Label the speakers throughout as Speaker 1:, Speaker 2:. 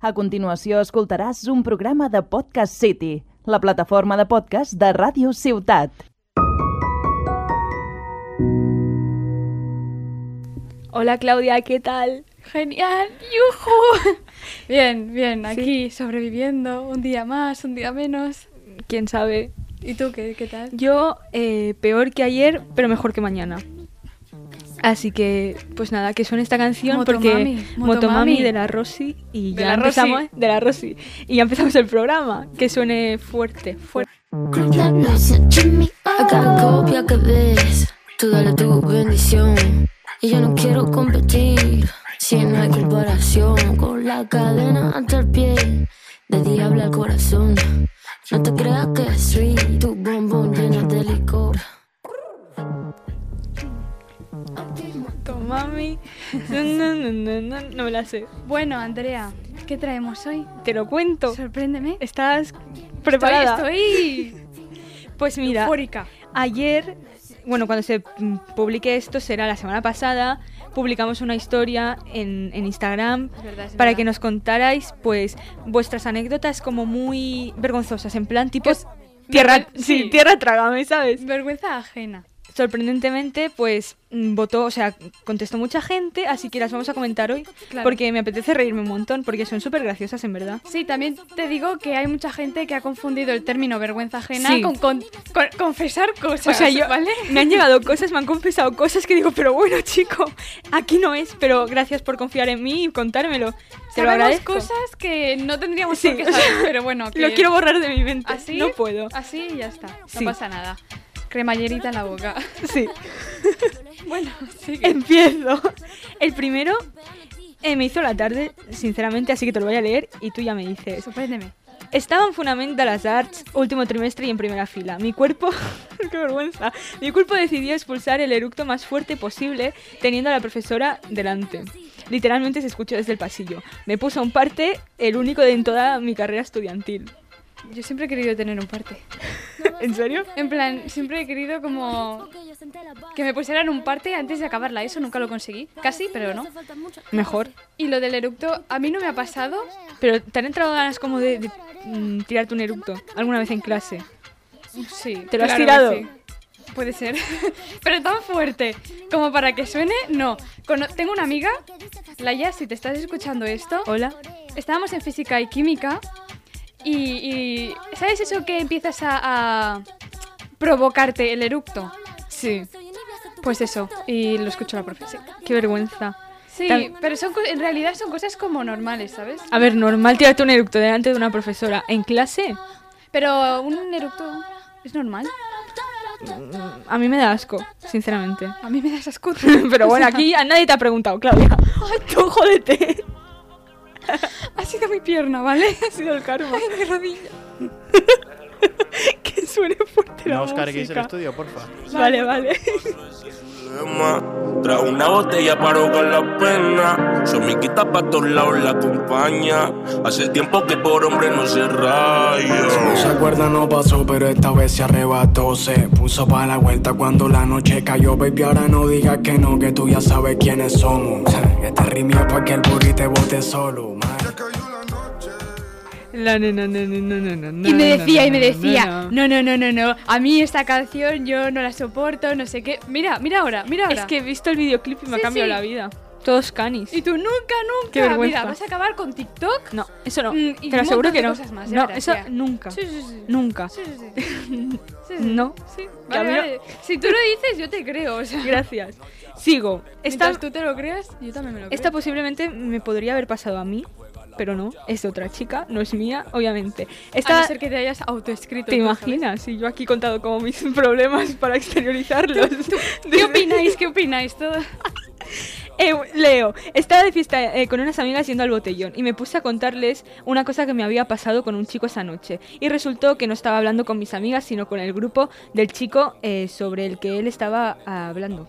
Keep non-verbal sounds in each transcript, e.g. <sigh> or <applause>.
Speaker 1: A continuació escoltaràs un programa de Podcast City, la plataforma de podcast de Ràdio Ciutat.
Speaker 2: Hola Claudia, ¿qué tal?
Speaker 3: Genial, yujú. Bien, bien,
Speaker 2: Sí.
Speaker 3: aquí sobreviviendo, un día más, un día menos.
Speaker 2: ¿Quién sabe?
Speaker 3: ¿Y tú qué, qué tal?
Speaker 2: Yo eh, peor que ayer, pero mejor que mañana. Así que, pues nada, que suene esta canción
Speaker 3: Motomami,
Speaker 2: porque
Speaker 3: Motomami.
Speaker 2: de la Rosy y
Speaker 3: De
Speaker 2: ya
Speaker 3: la Rosy.
Speaker 2: empezamos ¿eh? de la Rosy y ya empezamos el programa, que suene fuerte, fuerte.
Speaker 4: Listen to me. Acá copia que ves, tú dale tu bendición. Y yo no quiero competir, si no hay comparación. Con la cadena hasta el pie, de diablo al corazón. No te creas que soy tu bombón lleno de licor.
Speaker 2: Motomami. <laughs> No, no, no, no, no, no me la sé.
Speaker 3: Bueno, Andrea, ¿qué traemos hoy?
Speaker 2: Te lo cuento.
Speaker 3: Sorpréndeme.
Speaker 2: ¿Estás Oh. preparada?
Speaker 3: Estoy,
Speaker 2: Pues <laughs>
Speaker 3: estoy
Speaker 2: mira,
Speaker 3: eufórica.
Speaker 2: Ayer, bueno, cuando se mm, publique esto, será la semana pasada, publicamos una historia en, en Instagram
Speaker 3: Es verdad, es
Speaker 2: para
Speaker 3: verdad.
Speaker 2: que nos contarais, pues, vuestras anécdotas como muy vergonzosas, en plan tipo...
Speaker 3: Que-
Speaker 2: Tierra,
Speaker 3: vergüen-
Speaker 2: sí,
Speaker 3: sí.
Speaker 2: tierra trágame, ¿sabes?
Speaker 3: Vergüenza ajena.
Speaker 2: Sorprendentemente, pues, mm, votó, o sea, contestó mucha gente, así que las vamos a comentar hoy,
Speaker 3: Claro.
Speaker 2: porque me apetece reírme un montón, porque son súper graciosas, en verdad.
Speaker 3: Sí, también te digo que hay mucha gente que ha confundido el término vergüenza ajena
Speaker 2: Sí.
Speaker 3: con, con- con confesar cosas,
Speaker 2: O sea, yo,
Speaker 3: ¿vale?
Speaker 2: me han llegado cosas, me han confesado cosas que digo, pero bueno, chico, aquí no es, pero gracias por confiar en mí y contármelo. Te lo
Speaker 3: Sabemos
Speaker 2: agradezco.
Speaker 3: cosas que no tendríamos
Speaker 2: Sí,
Speaker 3: por
Speaker 2: o
Speaker 3: qué
Speaker 2: sea,
Speaker 3: saber, pero
Speaker 2: <laughs>
Speaker 3: bueno.
Speaker 2: Lo
Speaker 3: que- ¿Ah,
Speaker 2: quiero borrar de mi mente.
Speaker 3: ¿Así?
Speaker 2: <laughs> No puedo.
Speaker 3: Así y ya está. No
Speaker 2: Sí.
Speaker 3: pasa nada. Cremallerita en la boca. <laughs>
Speaker 2: Sí,
Speaker 3: Bueno, sigue.
Speaker 2: empiezo. El primero eh, me hizo la tarde, sinceramente, así que te lo voy a leer y tú ya me dices.
Speaker 3: Sorpréndeme.
Speaker 2: Estaba en Fundamental las Arts, último trimestre y en primera fila. Mi cuerpo. <laughs> ¡Qué vergüenza! Mi cuerpo decidió expulsar el eructo más fuerte posible, teniendo a la profesora delante. Literalmente se escuchó desde el pasillo. Me puso un parte, el único de en toda mi carrera estudiantil.
Speaker 3: Yo siempre he querido tener un parte.
Speaker 2: ¿En serio?
Speaker 3: En plan, siempre he querido como que me pusieran un parte antes de acabarla. Eso nunca lo conseguí. Casi, pero no.
Speaker 2: Mejor.
Speaker 3: Y lo del eructo a mí no me ha pasado.
Speaker 2: Pero ¿te han entrado ganas como de, de, mm, tirarte un eructo alguna vez en clase?
Speaker 3: Sí.
Speaker 2: ¿Te lo has
Speaker 3: claro que
Speaker 2: tirado?
Speaker 3: sí. Puede ser. <laughs> pero tan fuerte como para que suene, no. Cono- Tengo una amiga, Laia, si te estás escuchando esto,
Speaker 2: Hola.
Speaker 3: estábamos en física y química y, y- ¿sabes eso que empiezas a, a provocarte el eructo?
Speaker 2: Sí.
Speaker 3: Pues eso, y lo escucho la profesora.
Speaker 2: Qué vergüenza.
Speaker 3: Sí,
Speaker 2: Tam-
Speaker 3: pero son, co- en realidad son cosas como normales, ¿sabes?
Speaker 2: A ver, normal tirarte un eructo delante de una profesora. ¿En clase?
Speaker 3: Pero un eructo es normal.
Speaker 2: A mí me da asco, sinceramente.
Speaker 3: A mí me das asco.
Speaker 2: <laughs>
Speaker 3: <laughs>
Speaker 2: Pero bueno,
Speaker 3: O sea,
Speaker 2: aquí a nadie te ha preguntado, Claudia. Ay, tú jódete.
Speaker 3: Ha sido mi pierna, ¿vale?
Speaker 2: Ha sido el karma. mi rodilla. <laughs> que suene fuerte la
Speaker 5: No os carguéis el
Speaker 2: música.
Speaker 5: estudio, porfa.
Speaker 2: Vale, vale.
Speaker 6: problema. Tras una botella paro con la pena. Su amiguita pa' todos lados la acompaña. Hace tiempo que por hombre no se
Speaker 7: No se
Speaker 6: raya.
Speaker 7: acuerda, no pasó, pero esta vez se arrebató. Se puso pa' la vuelta cuando la noche cayó. Baby, ahora no digas que no, que tú ya sabes quiénes somos. Este ritmo es pa' que el burrito te bote solo, man.
Speaker 2: No, no, no, no, no, no, no, no.
Speaker 3: Y me
Speaker 2: no, no,
Speaker 3: decía, y
Speaker 2: no,
Speaker 3: me
Speaker 2: no,
Speaker 3: decía,
Speaker 2: no, no.
Speaker 3: no, no, no, no, no, a mí esta canción yo no la soporto, no sé qué. Mira, mira ahora, mira ahora.
Speaker 2: Es que he visto el videoclip y me ha
Speaker 3: Sí,
Speaker 2: cambiado
Speaker 3: sí.
Speaker 2: la vida. Todos canis.
Speaker 3: Y tú nunca, nunca.
Speaker 2: Qué vergüenza.
Speaker 3: Mira, vas a acabar con TikTok.
Speaker 2: No, eso no.
Speaker 3: Mm, y
Speaker 2: Te
Speaker 3: un
Speaker 2: lo
Speaker 3: montón
Speaker 2: aseguro que
Speaker 3: de
Speaker 2: no.
Speaker 3: cosas más, ya
Speaker 2: no,
Speaker 3: verás,
Speaker 2: eso
Speaker 3: ya.
Speaker 2: nunca.
Speaker 3: Sí, sí, sí.
Speaker 2: Nunca.
Speaker 3: Sí, sí, <laughs> sí. Sí, sí, sí.
Speaker 2: No.
Speaker 3: Sí,
Speaker 2: a mí
Speaker 3: vale,
Speaker 2: no-
Speaker 3: vale. Si tú lo dices, yo te creo. O sea,
Speaker 2: Gracias. Sigo. Esta,
Speaker 3: mientras tú te lo creas, yo también me lo creo.
Speaker 2: Esta posiblemente me podría haber pasado a mí, pero no, es de otra chica, no es mía, obviamente.
Speaker 3: A
Speaker 2: Esta,
Speaker 3: Ah, no ser que te hayas autoescrito.
Speaker 2: ¿Te
Speaker 3: tú, ¿sabes?
Speaker 2: imaginas? Y yo aquí he contado como mis <laughs> problemas para exteriorizarlos.
Speaker 3: <laughs> ¿Qué opináis? ¿Qué opináis? Todo.
Speaker 2: Eh, Leo, estaba de fiesta eh, con unas amigas yendo al botellón y me puse a contarles una cosa que me había pasado con un chico esa noche. Y resultó que no estaba hablando con mis amigas, sino con el grupo del chico eh, sobre el que él estaba ah, hablando.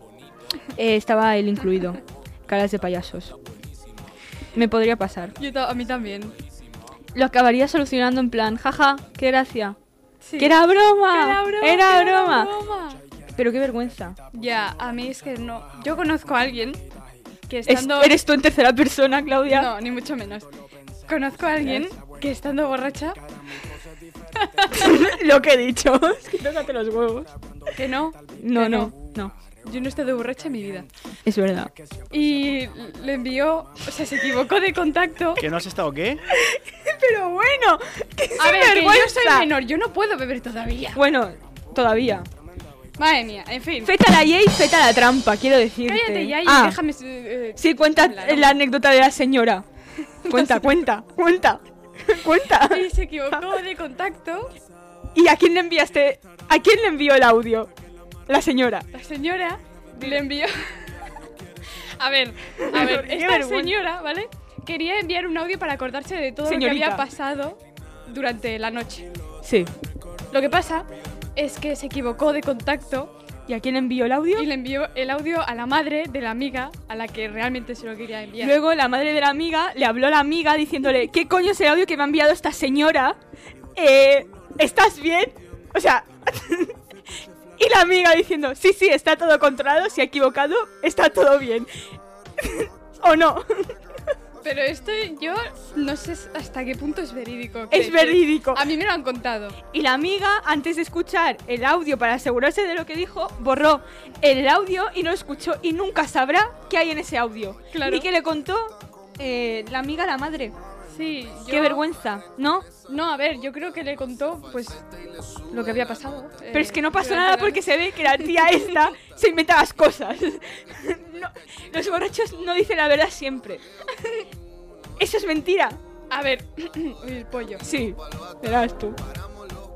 Speaker 2: Eh, estaba él incluido. Caras de payasos. Me podría pasar.
Speaker 3: Yo ta- a mí también.
Speaker 2: Lo acabaría solucionando en plan, jaja, qué gracia.
Speaker 3: Sí.
Speaker 2: Que era broma.
Speaker 3: Era broma.
Speaker 2: Era
Speaker 3: que era
Speaker 2: broma.
Speaker 3: broma.
Speaker 2: Pero qué vergüenza.
Speaker 3: Ya, a mí es que no. Yo conozco a alguien que
Speaker 2: Es-
Speaker 3: estando.
Speaker 2: eres tú en tercera persona, Claudia.
Speaker 3: No, ni mucho menos. Conozco a alguien que estando borracha,
Speaker 2: <laughs> Lo que he
Speaker 3: <laughs>
Speaker 2: dicho. Es que tócate los huevos.
Speaker 3: que no,
Speaker 2: No,
Speaker 3: que
Speaker 2: no, no.
Speaker 3: Yo no he estado borracha en mi vida.
Speaker 2: Es verdad.
Speaker 3: Y le envió, o sea, se equivocó de contacto.
Speaker 5: ¿Que no has estado qué?
Speaker 2: Pero bueno, que
Speaker 3: A ver, que yo soy
Speaker 2: sinvergüenza.
Speaker 3: menor, yo no puedo beber todavía.
Speaker 2: Bueno, todavía.
Speaker 3: Madre mía, en fin.
Speaker 2: Feta la y feta la trampa, quiero decirte.
Speaker 3: Cállate ya y
Speaker 2: Ah,
Speaker 3: déjame. eh, eh,
Speaker 2: Sí, cuenta
Speaker 3: Claro.
Speaker 2: la anécdota de la señora.
Speaker 3: <laughs>
Speaker 2: Cuenta, cuenta, cuenta. Cuenta.
Speaker 3: Y se equivocó de contacto.
Speaker 2: ¿Y a quién le enviaste? ¿A quién le envió el audio? La señora.
Speaker 3: La señora le envió. <laughs> A ver, a ver,
Speaker 2: Qué
Speaker 3: esta
Speaker 2: vergüenza.
Speaker 3: señora, ¿vale? Quería enviar un audio para acordarse de todo lo que
Speaker 2: Señorita.
Speaker 3: había pasado durante la noche.
Speaker 2: Sí.
Speaker 3: Lo que pasa es que se equivocó de contacto
Speaker 2: ¿Y a quién le envió el audio?
Speaker 3: y le envió el audio a la madre de la amiga a la que realmente se lo quería enviar.
Speaker 2: Luego la madre de la amiga le habló a la amiga diciéndole, ¿qué coño es el audio que me ha enviado esta señora? Eh, ¿Estás bien? O sea... <laughs> y la amiga diciendo, sí, sí, está todo controlado, si ha equivocado, está todo bien. <laughs> ¿O no?
Speaker 3: Pero esto yo no sé hasta qué punto es verídico. que-
Speaker 2: es verídico.
Speaker 3: A mí me lo han contado.
Speaker 2: Y la amiga, antes de escuchar el audio para asegurarse de lo que dijo, borró el audio y no lo escuchó y nunca sabrá qué hay en ese audio.
Speaker 3: Claro.
Speaker 2: Y que le contó eh, la amiga a la madre.
Speaker 3: Sí, yo...
Speaker 2: Qué vergüenza, ¿no?
Speaker 3: No, a ver, yo creo que le contó, pues, lo que había pasado. eh,
Speaker 2: Pero es que no pasó nada porque se ve que la tía esta se inventa las cosas. <laughs> No, los borrachos no dicen la verdad siempre. <laughs> Eso es mentira.
Speaker 3: A ver, <clears throat> uy, el pollo.
Speaker 2: Sí, verás tú.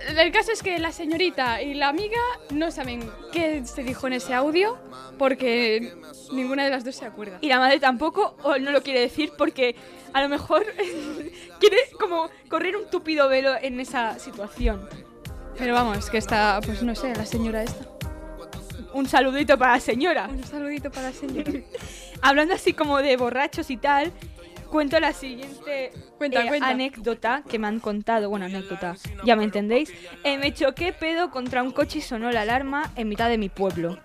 Speaker 3: El caso es que la señorita y la amiga no saben qué se dijo en ese audio porque ninguna de las dos se acuerda.
Speaker 2: Y la madre tampoco, o no lo quiere decir porque a lo mejor <laughs> quiere como correr un tupido velo en esa situación.
Speaker 3: Pero vamos, que está, pues no sé, la señora esta.
Speaker 2: Un saludito para la señora.
Speaker 3: Un saludito para la señora.
Speaker 2: Hablando así como de borrachos y tal, cuento la siguiente
Speaker 3: Cuenta, cuenta.
Speaker 2: Eh, anécdota que me han contado. Bueno, anécdota, ya me entendéis. Eh, me choqué pedo contra un coche y sonó la alarma en mitad de mi pueblo.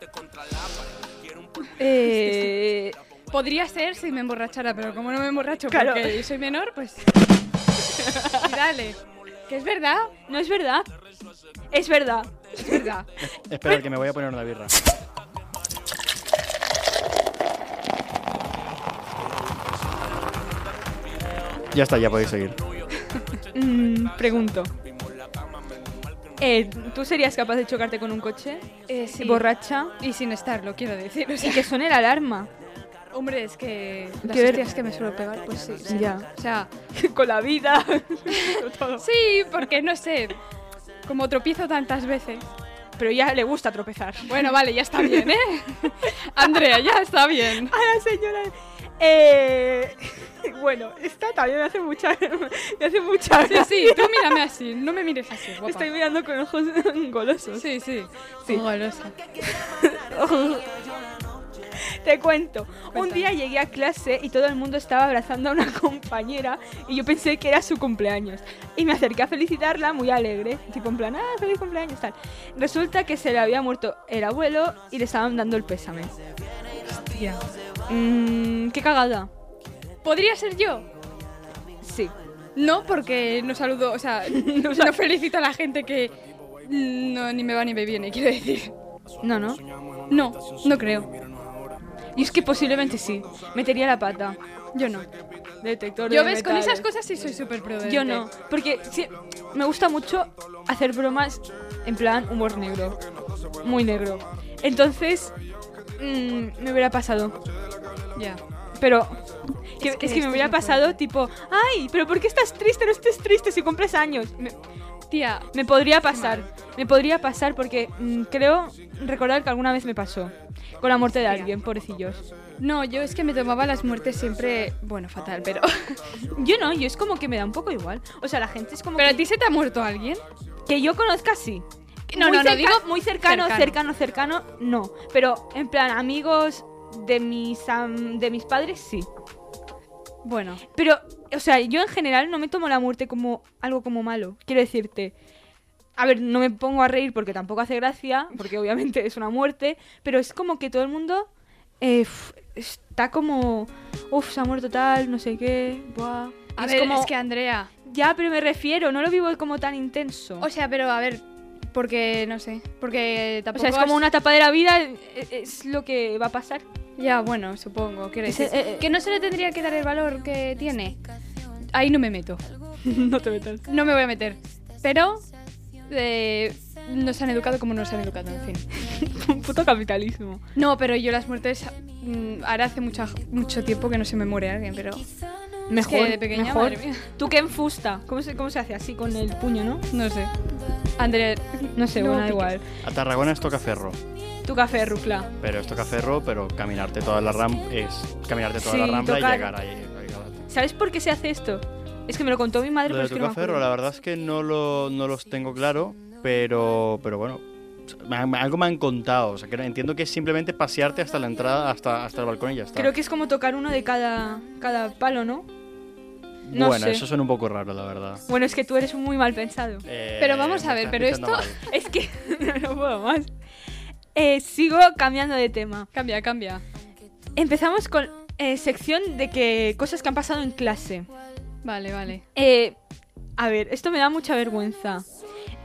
Speaker 2: Eh,
Speaker 3: Podría ser si me emborrachara, pero como no me emborracho
Speaker 2: Claro.
Speaker 3: porque soy menor,
Speaker 2: <laughs>
Speaker 3: pues... y dale. Que es verdad,
Speaker 2: no es verdad. Es verdad.
Speaker 3: es verdad.
Speaker 5: Espera, que me voy a poner una birra. Ya está, ya podéis seguir.
Speaker 2: Mm, pregunto. Eh, ¿Tú serías capaz de chocarte con un coche? Borracha.
Speaker 3: Eh, Y sin estarlo, quiero decir. O sea,
Speaker 2: Y que suene la alarma.
Speaker 3: hombre, es que las
Speaker 2: Qué ver-
Speaker 3: hostias que me suelo pegar, pues sí. sí.
Speaker 2: Ya.
Speaker 3: O sea,
Speaker 2: <laughs> con la vida.
Speaker 3: <laughs> sí, porque no sé, como tropiezo tantas veces.
Speaker 2: Pero ya le gusta tropezar.
Speaker 3: Bueno, vale, ya está
Speaker 2: <laughs>
Speaker 3: bien, ¿eh? Andrea, ya está bien.
Speaker 2: A la señora. Eh, <laughs> bueno, esta también me hace mucha. <laughs> Me hace mucha.
Speaker 3: Sí, sí, tú mírame así, no me mires así, guapa.
Speaker 2: Estoy mirando con ojos golosos.
Speaker 3: Sí, sí.
Speaker 2: Sí.
Speaker 3: Golosa.
Speaker 2: <laughs> Te cuento. Un día llegué a clase y todo el mundo estaba abrazando a una compañera y yo pensé que era su cumpleaños. Y me acerqué a felicitarla muy alegre, tipo en plan, ah, feliz cumpleaños, tal. Resulta que se le había muerto el abuelo y le estaban dando el pésame.
Speaker 3: Hostia.
Speaker 2: Mmm, qué cagada.
Speaker 3: ¿Podría ser yo?
Speaker 2: Sí.
Speaker 3: No, porque Eh, no saludo,
Speaker 2: <laughs>
Speaker 3: o sea, no, no felicito a la gente que mm, no, ni me va ni me viene, quiero decir.
Speaker 2: No, no.
Speaker 3: No, no creo.
Speaker 2: Y es que posiblemente sí. Metería la pata.
Speaker 3: Yo no.
Speaker 2: Detector
Speaker 3: Yo
Speaker 2: de
Speaker 3: ves, con
Speaker 2: metales.
Speaker 3: esas cosas sí soy súper prudente.
Speaker 2: Yo no, porque sí, me gusta mucho hacer bromas en plan humor negro, muy negro. Entonces, mm, me hubiera pasado,
Speaker 3: Ya.
Speaker 2: pero que- es,
Speaker 3: que
Speaker 2: que,
Speaker 3: esto
Speaker 2: me
Speaker 3: es
Speaker 2: hubiera
Speaker 3: muy
Speaker 2: pasado tipo, ay, pero ¿por qué estás triste? No estés triste si cumples años. Me,
Speaker 3: Tía,
Speaker 2: me podría pasar, me podría pasar porque mm, creo recordar que alguna vez me pasó con la muerte de alguien, pobrecillos.
Speaker 3: no, yo es que me tomaba las muertes siempre, bueno, fatal, pero...
Speaker 2: <laughs> Yo no, yo es como que me da un poco igual. O sea, la gente es como
Speaker 3: ¿Pero
Speaker 2: que-
Speaker 3: a ti se te ha muerto alguien?
Speaker 2: Que yo conozca, sí.
Speaker 3: No,
Speaker 2: muy
Speaker 3: no, no, digo
Speaker 2: muy cercano, cercano,
Speaker 3: cercano.
Speaker 2: cercano, no. Pero en plan, amigos de mis, am- de mis padres, sí.
Speaker 3: Bueno,
Speaker 2: Pero, o sea, yo en general no me tomo la muerte como algo como malo. Quiero decirte. A ver, no me pongo a reír porque tampoco hace gracia,
Speaker 3: <laughs>
Speaker 2: porque obviamente es una muerte, pero es como que todo el mundo eh, f- está como, uff, se ha muerto tal, no sé qué, buah. Y
Speaker 3: A
Speaker 2: es
Speaker 3: ver,
Speaker 2: como-
Speaker 3: es que Andrea.
Speaker 2: Ya, pero me refiero, no lo vivo como tan intenso.
Speaker 3: O sea, pero a ver, porque no sé. Porque
Speaker 2: O
Speaker 3: tampoco.
Speaker 2: sea, es
Speaker 3: has-
Speaker 2: como una etapa de la vida, es, es lo que va a pasar.
Speaker 3: Ya, bueno, supongo. Quiero
Speaker 2: Es-
Speaker 3: decir.
Speaker 2: eh, eh.
Speaker 3: que no se le tendría que dar el valor que tiene. Ahí no me meto.
Speaker 2: <laughs> no te metas.
Speaker 3: No me voy a meter. Pero. eh, nos han educado como nos han educado, en fin.
Speaker 2: <laughs> Un puto capitalismo.
Speaker 3: No, pero yo las muertes. mm, ahora hace mucha- mucho tiempo que no se me muere alguien, pero.
Speaker 2: Mejor,
Speaker 3: es que de pequeña,
Speaker 2: mejor.
Speaker 3: madre mía.
Speaker 2: ¿Tú qué enfusta? ¿Cómo se, ¿Cómo se hace? Así, con el puño, ¿no?
Speaker 3: No sé. Andrea.
Speaker 2: No sé,
Speaker 3: No
Speaker 2: bueno, da
Speaker 3: piques.
Speaker 2: igual.
Speaker 5: A Tarragona es tocaferro,
Speaker 2: Tu café, Rucla.
Speaker 5: pero es tocaferro, pero caminarte toda la rampa es caminarte toda
Speaker 2: Sí,
Speaker 5: la rambla
Speaker 2: tocar-
Speaker 5: y llegar ahí. ahí-
Speaker 2: ¿Sabes por qué se hace esto? Es que me lo contó mi madre,
Speaker 5: Lo
Speaker 2: pero
Speaker 5: de
Speaker 2: es que no me
Speaker 5: tocaferro,
Speaker 2: acuerdo.
Speaker 5: la verdad es que no, lo, no los tengo claro, pero, pero bueno, me han- algo me han contado. O sea, que entiendo que es simplemente pasearte hasta la entrada, hasta, hasta el balcón y ya está.
Speaker 2: Creo que es como tocar uno de cada, cada palo, ¿no? no
Speaker 5: bueno,
Speaker 2: sé.
Speaker 5: eso suena un poco raro, la verdad.
Speaker 2: Bueno, es que tú eres muy mal pensado.
Speaker 5: Eh,
Speaker 3: Pero vamos
Speaker 5: me
Speaker 3: a ver,
Speaker 5: estás
Speaker 3: pero
Speaker 5: pinchando
Speaker 3: esto-
Speaker 5: mal.
Speaker 2: Es que no, no puedo más. Eh, sigo cambiando de tema.
Speaker 3: Cambia, cambia.
Speaker 2: Empezamos con eh, sección de que cosas que han pasado en clase.
Speaker 3: Vale, vale.
Speaker 2: Eh, a ver, esto me da mucha vergüenza.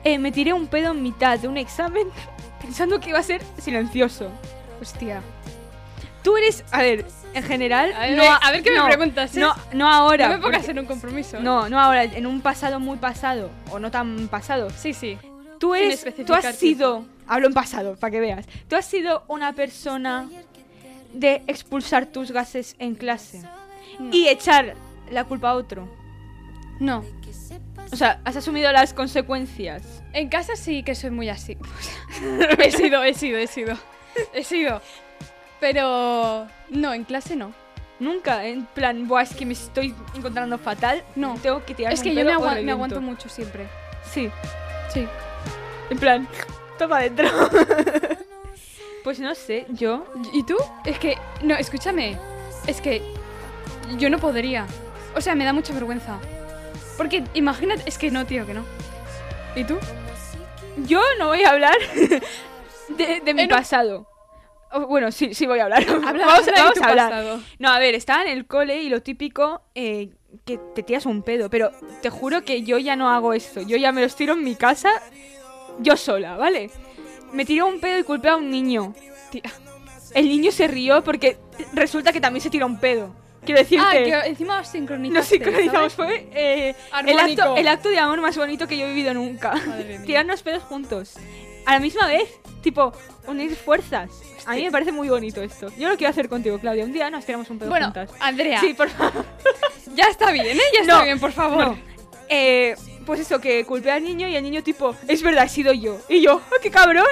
Speaker 2: Eh, me tiré un pedo en mitad de un examen <laughs> pensando que iba a ser silencioso.
Speaker 3: Hostia.
Speaker 2: Tú eres, a ver, en general,
Speaker 3: A ver,
Speaker 2: no,
Speaker 3: a ver qué me
Speaker 2: no,
Speaker 3: preguntas, ¿eh?
Speaker 2: No, no ahora.
Speaker 3: No me pongas
Speaker 2: porque-
Speaker 3: en un compromiso.
Speaker 2: no, no ahora, en un pasado muy pasado o no tan pasado.
Speaker 3: Sí, sí.
Speaker 2: Tú
Speaker 3: Sin
Speaker 2: eres, tú
Speaker 3: especificar
Speaker 2: has sido, hablo en pasado para que veas. Tú has sido una persona de expulsar tus gases en clase y echar la culpa a otro.
Speaker 3: No.
Speaker 2: O sea, has asumido las consecuencias.
Speaker 3: En casa sí que soy muy así. <laughs> he sido, he sido, he sido. He sido. Pero no, en clase no.
Speaker 2: Nunca, en plan, Buah, es que me estoy encontrando fatal.
Speaker 3: No.
Speaker 2: Tengo que tirar
Speaker 3: Es que yo me, agua- me aguanto mucho siempre.
Speaker 2: Sí,
Speaker 3: Sí.
Speaker 2: en plan, <laughs> toma adentro. pues no sé, yo.
Speaker 3: ¿Y tú? Es que, no, escúchame. Es que yo no podría. O sea, me da mucha vergüenza. Porque imagínate, es que no, tío, que no. ¿Y tú?
Speaker 2: Yo no voy a hablar <laughs> de, de mi
Speaker 3: En un-
Speaker 2: pasado. O, bueno, sí, sí voy a hablar.
Speaker 3: Eh,
Speaker 2: <laughs>
Speaker 3: Habla-
Speaker 2: vamos
Speaker 3: habla de
Speaker 2: vamos
Speaker 3: tu
Speaker 2: a hablar.
Speaker 3: pasado.
Speaker 2: No, a ver, estaba en el cole y lo típico eh, que te tiras un pedo, pero te juro que yo ya no hago esto. Yo ya me los tiro en mi casa, yo sola, ¿vale? Me tiró un pedo y culpé a un niño. Tía, El niño se rió porque resulta que también se tiró un pedo. <laughs> Quiero decirte,
Speaker 3: Ah, que encima os
Speaker 2: <laughs>
Speaker 3: sincronizamos.
Speaker 2: nos sincronizamos. Fue eh, el, acto,
Speaker 3: Armónico.
Speaker 2: el acto de amor más bonito que yo he vivido nunca. <laughs>
Speaker 3: Madre mía.
Speaker 2: Tirarnos pedos juntos. A la misma vez, tipo, unir fuerzas. A mí me parece muy bonito esto. Yo lo quiero hacer contigo, Claudia. Un día nos tiramos un pedo
Speaker 3: Bueno,
Speaker 2: juntas.
Speaker 3: Andrea,
Speaker 2: Sí, por favor.
Speaker 3: ya está bien, ¿eh? Ya está
Speaker 2: No,
Speaker 3: bien, por favor.
Speaker 2: No. Eh, pues eso, que culpé al niño y el niño tipo, es verdad, he sido yo. Y yo, "Ah, ¡qué cabrón!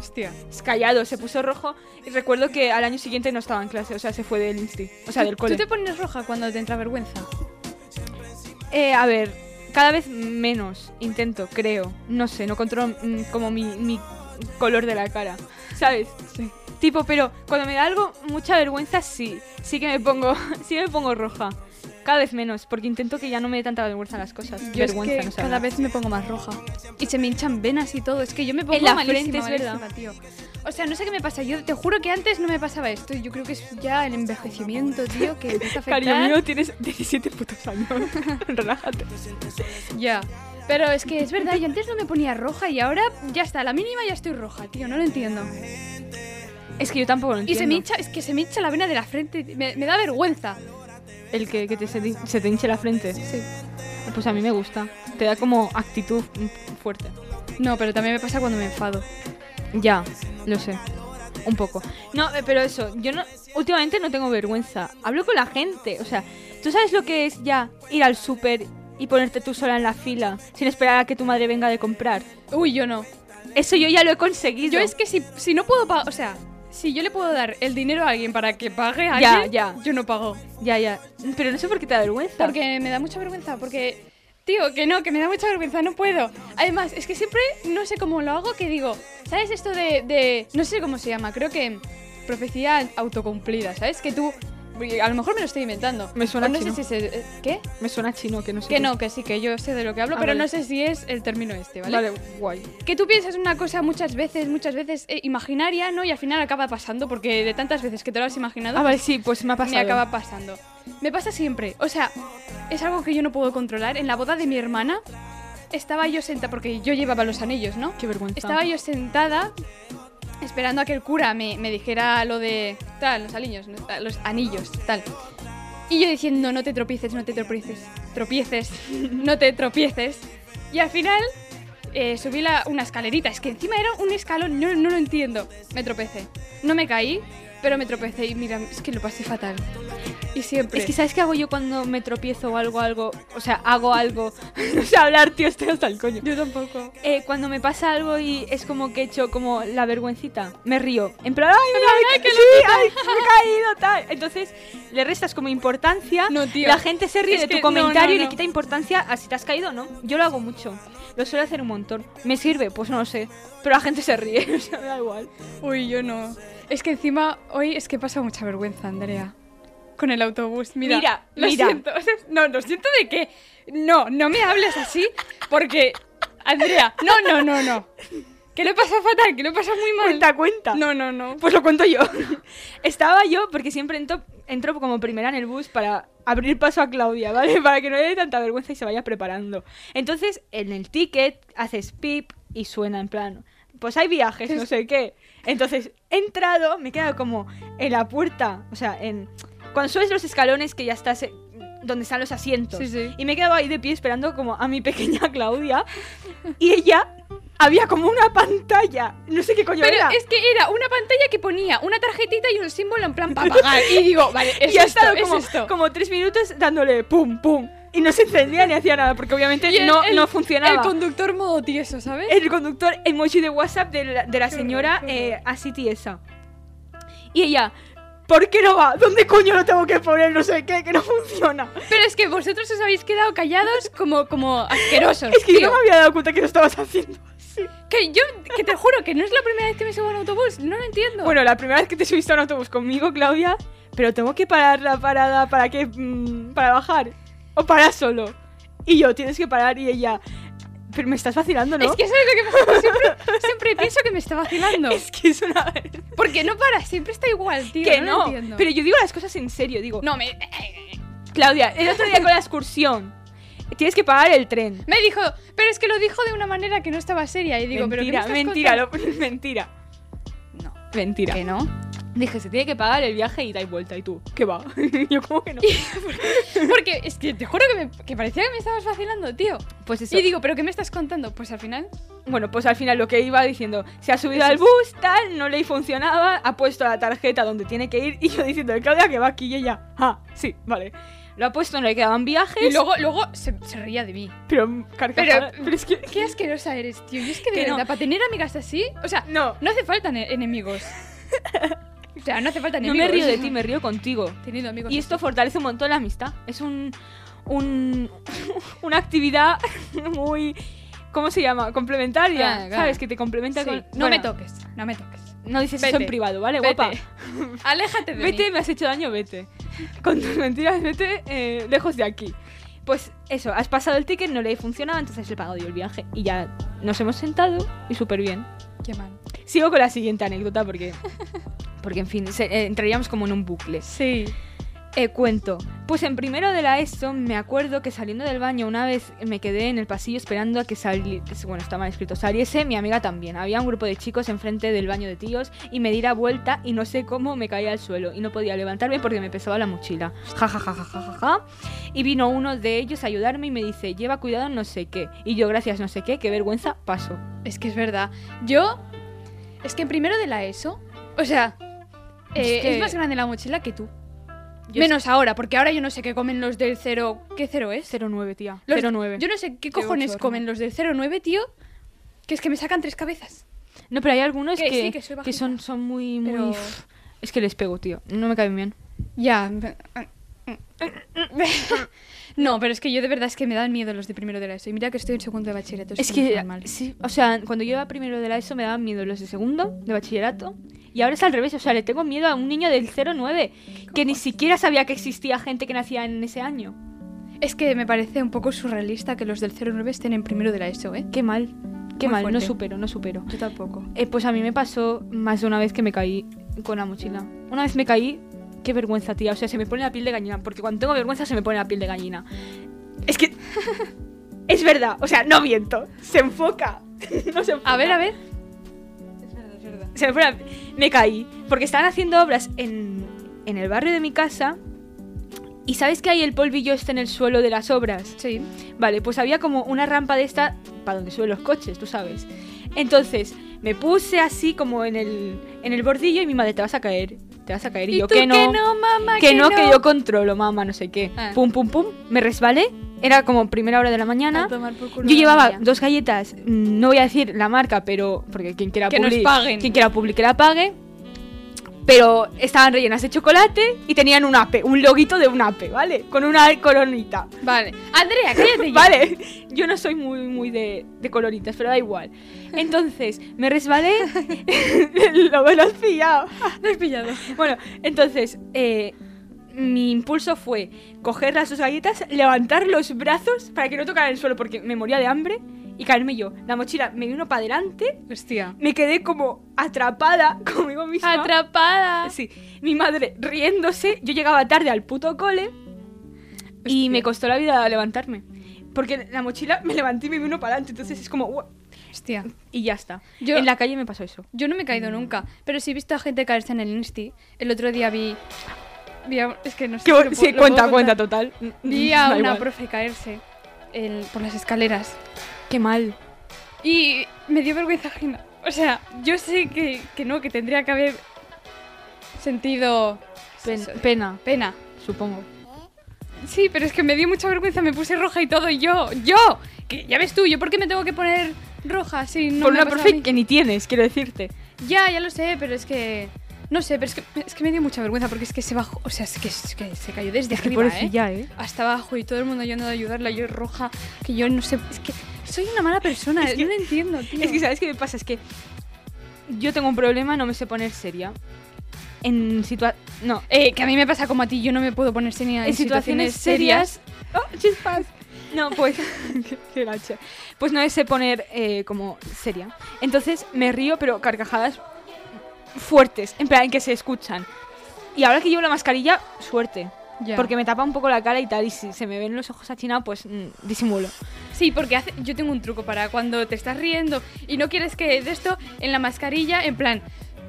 Speaker 3: Hostia.
Speaker 2: Callado, se puso rojo. Y recuerdo que al año siguiente no estaba en clase, o sea, se fue del insti. O sea, del cole.
Speaker 3: ¿Tú te pones roja cuando te entra vergüenza?
Speaker 2: Eh, a ver, cada vez menos intento, creo. No sé, no controlo mm, como mi, mi color de la cara, ¿sabes?
Speaker 3: Sí.
Speaker 2: Tipo, pero cuando me da algo, mucha vergüenza, sí. Sí que me pongo, <laughs> sí que me pongo roja. Cada vez menos, porque intento que ya no me dé tanta vergüenza las cosas.
Speaker 3: Yo es
Speaker 2: vergüenza,
Speaker 3: que
Speaker 2: no sé
Speaker 3: cada
Speaker 2: hablar.
Speaker 3: vez me pongo más roja. Y se me hinchan venas y todo. Es que yo me pongo
Speaker 2: la frente,
Speaker 3: malísima,
Speaker 2: es verdad.
Speaker 3: malísima, tío. O sea, no sé qué me pasa. Yo te juro que antes no me pasaba esto. Yo creo que es ya el envejecimiento, tío, que empieza a afectar.
Speaker 2: Cariño mío, tienes 17 putos <laughs> años. Relájate.
Speaker 3: Ya. Pero es que es verdad, yo antes no me ponía roja y ahora ya está, a la mínima ya estoy roja, tío, no lo entiendo.
Speaker 2: Es que yo tampoco lo
Speaker 3: Y
Speaker 2: entiendo.
Speaker 3: se me hincha, es que se me hincha la vena de la frente, me, me da vergüenza.
Speaker 2: El que, que te, se, te- se te hinche la frente.
Speaker 3: Sí.
Speaker 2: Pues a mí me gusta. Te da como actitud mm, fuerte.
Speaker 3: No, pero también me pasa cuando me enfado.
Speaker 2: Ya, lo sé. Un poco. No, eh, pero eso, yo no. Últimamente no tengo vergüenza. Hablo con la gente. O sea, ¿tú sabes lo que es ya ir al súper y ponerte tú sola en la fila sin esperar a que tu madre venga de comprar?
Speaker 3: Uy, yo no.
Speaker 2: Eso yo ya lo he conseguido.
Speaker 3: Yo es que si, si no puedo pagar, o sea, si yo le puedo dar el dinero a alguien para que pague a
Speaker 2: Ya,
Speaker 3: alguien,
Speaker 2: ya.
Speaker 3: yo no pago.
Speaker 2: Ya, ya. Pero no sé por qué te da vergüenza.
Speaker 3: Porque me da mucha vergüenza, porque, tío, que no, que me da mucha vergüenza, no puedo. Además, es que siempre no sé cómo lo hago, que digo, ¿sabes esto de, de- no sé cómo se llama, creo que profecía autocumplida, ¿sabes? Que tú, porque a lo mejor me lo estoy inventando.
Speaker 2: Me suena
Speaker 3: O no
Speaker 2: chino.
Speaker 3: sé si se- eh, ¿Qué?
Speaker 2: me suena chino que no sé.
Speaker 3: Que
Speaker 2: qué.
Speaker 3: no, que sí, que yo sé de lo que hablo,
Speaker 2: Ah,
Speaker 3: pero
Speaker 2: vale.
Speaker 3: no sé si es el término este, ¿vale?
Speaker 2: Vale, guay.
Speaker 3: Que tú piensas una cosa muchas veces, muchas veces eh, imaginaria, ¿no? Y al final acaba pasando porque de tantas veces que te lo has imaginado,
Speaker 2: Ah, vale, sí, pues me ha pasado.
Speaker 3: me acaba pasando. Me pasa siempre. O sea, es algo que yo no puedo controlar. En la boda de mi hermana estaba yo sentada, porque yo llevaba los anillos, ¿no?
Speaker 2: Qué vergüenza.
Speaker 3: Estaba yo sentada esperando a que el cura me, me dijera lo de tal, los anillos, ¿no? Ah, los anillos, tal. Y yo diciendo, no te tropieces, no te tropieces, tropieces,
Speaker 2: <laughs>
Speaker 3: no te tropieces. Y al final eh, subí la- una escalerita, es que encima era un escalón, no, no lo entiendo. Me tropecé. No me caí, pero me tropecé y mira, es que lo pasé fatal. Y siempre...
Speaker 2: Es que ¿sabes qué hago yo cuando me tropiezo o algo, algo? O sea, hago algo. <laughs> no sé hablar, tío, estoy hasta el coño.
Speaker 3: yo tampoco.
Speaker 2: Eh, cuando me pasa algo y es como que he hecho como la vergüencita, me río. En plan, ay, mira, me, ca- sí, ay, me he caído, tal. Entonces le restas como importancia.
Speaker 3: No, tío.
Speaker 2: Ah, La gente se ríe
Speaker 3: Es
Speaker 2: de tu
Speaker 3: que no,
Speaker 2: comentario
Speaker 3: no,
Speaker 2: y le
Speaker 3: no.
Speaker 2: quita importancia a si te has caído o no. Yo lo hago mucho. Lo suelo hacer un montón. ¿Me sirve? Pues no lo sé. Pero la gente se ríe, <laughs> o sea, me da igual.
Speaker 3: Uy, yo no. Es que encima hoy es que pasa mucha vergüenza, Andrea. Con el autobús, mira.
Speaker 2: Mira,
Speaker 3: lo
Speaker 2: mira.
Speaker 3: siento. <laughs> o sea, no, lo siento de que. No, no me hables así porque. Andrea, no, no, no, no. Que lo pasa fatal, que lo pasa muy mal.
Speaker 2: Cuenta, cuenta.
Speaker 3: No, no,
Speaker 2: <laughs>
Speaker 3: no.
Speaker 2: Pues lo cuento yo. Estaba yo, porque siempre entro, entro como primera en el bus para abrir paso a Claudia, ¿vale? <laughs> Para que no le dé tanta vergüenza y se vaya preparando. Entonces, en el ticket haces pip y suena en plan, pues hay viajes, no sé qué. Entonces, he entrado, me he quedado como en la puerta, o sea, en... Cuando subes los escalones que ya estás... eh, donde están los asientos.
Speaker 3: Sí, sí.
Speaker 2: Y me he quedado ahí de pie esperando como a mi pequeña Claudia. Y ella había como una pantalla. No sé qué coño
Speaker 3: Pero
Speaker 2: era.
Speaker 3: es que era una pantalla que ponía una tarjetita y un símbolo
Speaker 2: <laughs>
Speaker 3: en plan para pagar. Y digo, vale, es
Speaker 2: y ha
Speaker 3: esto,
Speaker 2: estado
Speaker 3: es
Speaker 2: como,
Speaker 3: esto.
Speaker 2: como tres minutos dándole pum, pum. Y no se encendía ni hacía nada, porque obviamente
Speaker 3: Y el-
Speaker 2: no,
Speaker 3: el-
Speaker 2: no funcionaba.
Speaker 3: El
Speaker 2: El,
Speaker 3: conductor modo tieso, ¿sabes?
Speaker 2: conductor emoji de WhatsApp de la, de la
Speaker 3: Qué
Speaker 2: señora
Speaker 3: horror, qué
Speaker 2: eh, así tiesa. Y ella, ¿por qué no va? ¿Dónde coño lo tengo que poner? No sé qué, que no funciona.
Speaker 3: Pero es que vosotros os habéis quedado callados como, como asquerosos.
Speaker 2: <laughs> Es que yo
Speaker 3: tío.
Speaker 2: no me había dado cuenta que lo estabas haciendo.
Speaker 3: Que yo, que te juro que no es la primera vez que me subo a un autobús, no lo entiendo.
Speaker 2: Bueno, la primera vez que te subiste a un autobús conmigo, Claudia, pero tengo que parar la parada para que mm, para bajar o parar solo. Y yo, tienes que parar y ella, pero me estás vacilando, ¿no?
Speaker 3: es que sabes lo que pasa,
Speaker 2: <laughs>
Speaker 3: que siempre, siempre pienso que me está vacilando.
Speaker 2: Es que es una vez.
Speaker 3: Porque no para, siempre está igual, tío.
Speaker 2: que
Speaker 3: no, lo
Speaker 2: no.
Speaker 3: entiendo.
Speaker 2: Pero yo digo las cosas en serio, digo.
Speaker 3: no me,
Speaker 2: Claudia, el otro día con la excursión. Tienes que pagar el tren.
Speaker 3: me dijo, pero es que lo dijo de una manera que no estaba seria y digo, pero ¿qué
Speaker 2: mentira,
Speaker 3: me estás
Speaker 2: mentira,
Speaker 3: contando?
Speaker 2: lo- mentira.
Speaker 3: No.
Speaker 2: Mentira.
Speaker 3: Que no.
Speaker 2: Dije, se tiene que pagar el viaje y da y vuelta. ¿Y tú? ¿Qué va? <laughs> yo como
Speaker 3: <laughs>
Speaker 2: que no.
Speaker 3: Porque es que te juro que, me, que parecía que me estabas vacilando, tío.
Speaker 2: Pues eso.
Speaker 3: Y digo, ¿pero qué me estás contando? Pues al final,
Speaker 2: Bueno, pues al final lo que iba diciendo, se ha subido al bus, tal, no le funcionaba, ha puesto la tarjeta donde tiene que ir <laughs> y yo diciendo, Claudia, que va aquí y ella, ah, sí, vale. Lo ha puesto, no le quedaban viajes,
Speaker 3: y luego, luego se, se reía de mí.
Speaker 2: pero carcajada. Pero, es
Speaker 3: <laughs>
Speaker 2: que...
Speaker 3: Qué asquerosa eres, tío. Y es que de
Speaker 2: Que no.
Speaker 3: verdad, para tener amigas así, o sea,
Speaker 2: No,
Speaker 3: No hace falta
Speaker 2: <laughs>
Speaker 3: ne- enemigos. O sea, no hace falta
Speaker 2: no
Speaker 3: enemigos.
Speaker 2: me río de ti, me río contigo.
Speaker 3: Teniendo amigos.
Speaker 2: Y esto fortalece un montón la amistad. Es un, un- <laughs> una actividad <laughs> muy... ¿Cómo se llama? Complementaria.
Speaker 3: Ah, claro.
Speaker 2: ¿Sabes? Que te complementa
Speaker 3: Sí,
Speaker 2: con...
Speaker 3: No me
Speaker 2: bueno,
Speaker 3: toques, no me toques.
Speaker 2: No dices eso
Speaker 3: Vete,
Speaker 2: en privado, ¿vale?
Speaker 3: vete.
Speaker 2: <laughs> Guapa.
Speaker 3: Aléjate de
Speaker 2: Vete,
Speaker 3: mí.
Speaker 2: me has hecho daño, vete. <laughs> Con tus mentiras, vete eh, lejos de aquí. Pues eso, has pasado el ticket, no le funcionaba, entonces le he pagado yo el viaje y ya nos hemos sentado y súper bien.
Speaker 3: Qué mal.
Speaker 2: Sigo con la siguiente anécdota
Speaker 3: <laughs>
Speaker 2: porque, porque en fin, se- eh, entraríamos como en un bucle.
Speaker 3: Sí.
Speaker 2: Eh, cuento. Pues en primero de la ESO me acuerdo que saliendo del baño una vez me quedé en el pasillo esperando a que saliese, bueno, está mal escrito, saliese mi amiga también. Había un grupo de chicos enfrente del baño de tíos y me di la vuelta y no sé cómo me caí al suelo y no podía levantarme porque me pesaba la mochila. Ja, ja, ja, ja, ja, ja, ja. Y vino uno de ellos a ayudarme y me dice, lleva cuidado no sé qué. Y yo, gracias no sé qué, qué vergüenza, paso.
Speaker 3: Es que es verdad. Yo. Es que primero de la ESO. O sea. eh,
Speaker 2: Es que-
Speaker 3: Es más grande la mochila que tú.
Speaker 2: Yo
Speaker 3: Menos ahora, porque ahora yo no sé qué comen los del cero. ¿Qué cero es?
Speaker 2: 09, tía.
Speaker 3: Los-
Speaker 2: 09.
Speaker 3: Yo no sé qué
Speaker 2: Qué
Speaker 3: cojones
Speaker 2: bochorno.
Speaker 3: comen los del 09, tío. Que es que me sacan tres cabezas.
Speaker 2: No, pero hay algunos
Speaker 3: Que
Speaker 2: que,
Speaker 3: sí, que soy bajita.
Speaker 2: son, son muy, muy...
Speaker 3: Pero-
Speaker 2: Es que les pego, tío. No me caen bien.
Speaker 3: Ya. <laughs> No, pero es que yo de verdad es que me dan miedo los de primero de la ESO. Y mira que estoy en segundo de bachillerato.
Speaker 2: Es
Speaker 3: eso no
Speaker 2: que, ah,
Speaker 3: normal.
Speaker 2: sí, o sea, cuando yo iba primero de la ESO me daban miedo los de segundo, de bachillerato, y ahora es al revés, o sea, le tengo miedo a un niño del 09, que ni siquiera sabía que existía gente que nacía en ese año.
Speaker 3: Es que me parece un poco surrealista que los del 09 estén en primero de la ESO, ¿eh?
Speaker 2: Qué mal, qué
Speaker 3: Muy
Speaker 2: mal, no
Speaker 3: fuerte.
Speaker 2: supero, no supero.
Speaker 3: Yo tampoco.
Speaker 2: Eh, pues a mí me pasó más de una vez que me caí con la mochila. Una vez me caí Qué vergüenza, tía. O sea, se me pone la piel de gallina. Porque cuando tengo vergüenza se me pone la piel de gallina. Es que. <laughs> es verdad. O sea, no miento. Se enfoca. <laughs> no se enfoca.
Speaker 3: A ver, a ver.
Speaker 2: <laughs> Se me, fue la- me caí. Porque estaban haciendo obras en, en el barrio de mi casa. ¿Y sabes que hay el polvillo este en el suelo de las obras?
Speaker 3: Sí.
Speaker 2: Vale, pues había como una rampa de esta para donde suben los coches, tú sabes. Entonces, me puse así como en el, en el bordillo y mi madre, te vas a caer, te vas a caer. Y, yo,
Speaker 3: tú
Speaker 2: que no,
Speaker 3: que no, mamá,
Speaker 2: que no, que yo controlo, mamá, no sé qué.
Speaker 3: Ah.
Speaker 2: Pum, pum, pum, me resbalé. Era como primera hora de la mañana.
Speaker 3: A tomar por culo
Speaker 2: Yo
Speaker 3: la
Speaker 2: llevaba
Speaker 3: mía.
Speaker 2: dos galletas, mm, no voy a decir la marca, pero porque quien quiera
Speaker 3: Que nos
Speaker 2: publi-
Speaker 3: paguen.
Speaker 2: quien quiera publi que la pague. Pero estaban rellenas de chocolate y tenían un ape, un loguito de un ape, ¿vale? Con una coronita.
Speaker 3: Vale. Andrea,
Speaker 2: <laughs>
Speaker 3: cállate ya.
Speaker 2: Vale, yo no soy muy, muy de, de coloritas, pero da igual. Entonces, me
Speaker 3: <laughs>
Speaker 2: resbalé. <laughs> lo, lo has pillado.
Speaker 3: No he pillado.
Speaker 2: Bueno, entonces, eh, mi impulso fue coger las dos galletas, levantar los brazos para que no tocaran el suelo porque me moría de hambre y caerme yo. La mochila me vino para adelante,
Speaker 3: Hostia.
Speaker 2: me quedé como atrapada <laughs> conmigo misma.
Speaker 3: Atrapada.
Speaker 2: Sí, mi madre riéndose, yo llegaba tarde al puto cole y
Speaker 3: Hostia.
Speaker 2: me costó la vida levantarme. Porque la mochila me levanté y me vino para adelante, entonces es como... "Ua",
Speaker 3: Hostia.
Speaker 2: Y ya está.
Speaker 3: Yo-
Speaker 2: En la calle me pasó eso.
Speaker 3: Yo no me he caído nunca, pero sí he visto a gente caerse en el Insti. El otro día vi. vi a- es que no sé.
Speaker 2: Que-
Speaker 3: si lo
Speaker 2: sí,
Speaker 3: puedo- lo
Speaker 2: cuenta,
Speaker 3: puedo
Speaker 2: cuenta,
Speaker 3: contar.
Speaker 2: total.
Speaker 3: Vi
Speaker 2: <laughs>
Speaker 3: a
Speaker 2: Da
Speaker 3: una
Speaker 2: igual.
Speaker 3: profe caerse el- por las escaleras.
Speaker 2: Qué mal.
Speaker 3: Y me dio vergüenza ajena. O sea, yo sé que, que no, que tendría que haber sentido
Speaker 2: Pen-
Speaker 3: eso,
Speaker 2: pena,
Speaker 3: pena.
Speaker 2: supongo.
Speaker 3: Sí, pero es que me dio mucha vergüenza, me puse roja y todo. Y yo, yo, que ya ves tú, yo por qué me tengo que poner roja si no
Speaker 2: Por
Speaker 3: me
Speaker 2: una
Speaker 3: ha pasado a
Speaker 2: profe
Speaker 3: mí?
Speaker 2: que ni tienes, quiero decirte.
Speaker 3: Ya, ya lo sé, pero es que. No sé, pero es que, es que me dio mucha vergüenza porque es que se bajó. O sea, es que, es que se cayó desde
Speaker 2: Qué
Speaker 3: arriba, ¿eh?
Speaker 2: pobrecilla, ¿eh?
Speaker 3: Hasta abajo y todo el mundo yendo a ayudarla, yo roja, que yo no sé. Es que soy una mala persona,
Speaker 2: Es que-
Speaker 3: no lo entiendo, tío.
Speaker 2: Es que, ¿sabes qué me pasa? Es que yo tengo un problema, no me sé poner seria. En situa... No,
Speaker 3: Eh, que a mí me pasa como a ti, yo no me puedo poner seria en,
Speaker 2: en situaciones serias. ¡Oh, chispas! No, pues. <laughs> qué- qué lache. Pues no sé poner eh, como seria. Entonces me río, pero carcajadas fuertes, en plan que se escuchan. Y ahora que llevo la mascarilla, suerte.
Speaker 3: Ya.
Speaker 2: Porque me tapa un poco la cara y tal. Y si se me ven los ojos achinados, pues mm, disimulo.
Speaker 3: Sí, porque hace- yo tengo un truco para cuando te estás riendo y no quieres que de esto en la mascarilla, en plan,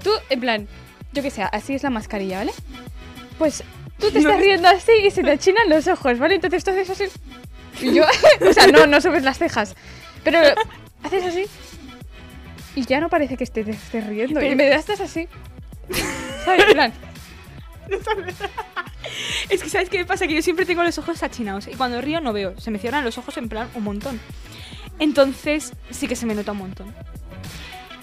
Speaker 3: tú, en plan, yo que sé, así es la mascarilla, ¿vale? Pues tú te
Speaker 2: No.
Speaker 3: estás riendo así y se te achinan los ojos, ¿vale? Entonces tú haces así. Y yo, <laughs> o sea, no, no subes las cejas, pero haces así y ya no parece que estés, te estés riendo. y me das así. ¿Sabes? En plan,
Speaker 2: Es que, ¿sabes qué me pasa? Que yo siempre tengo los ojos achinados y cuando río no veo. Se me cierran los ojos en plan un montón. Entonces sí que se me nota un montón.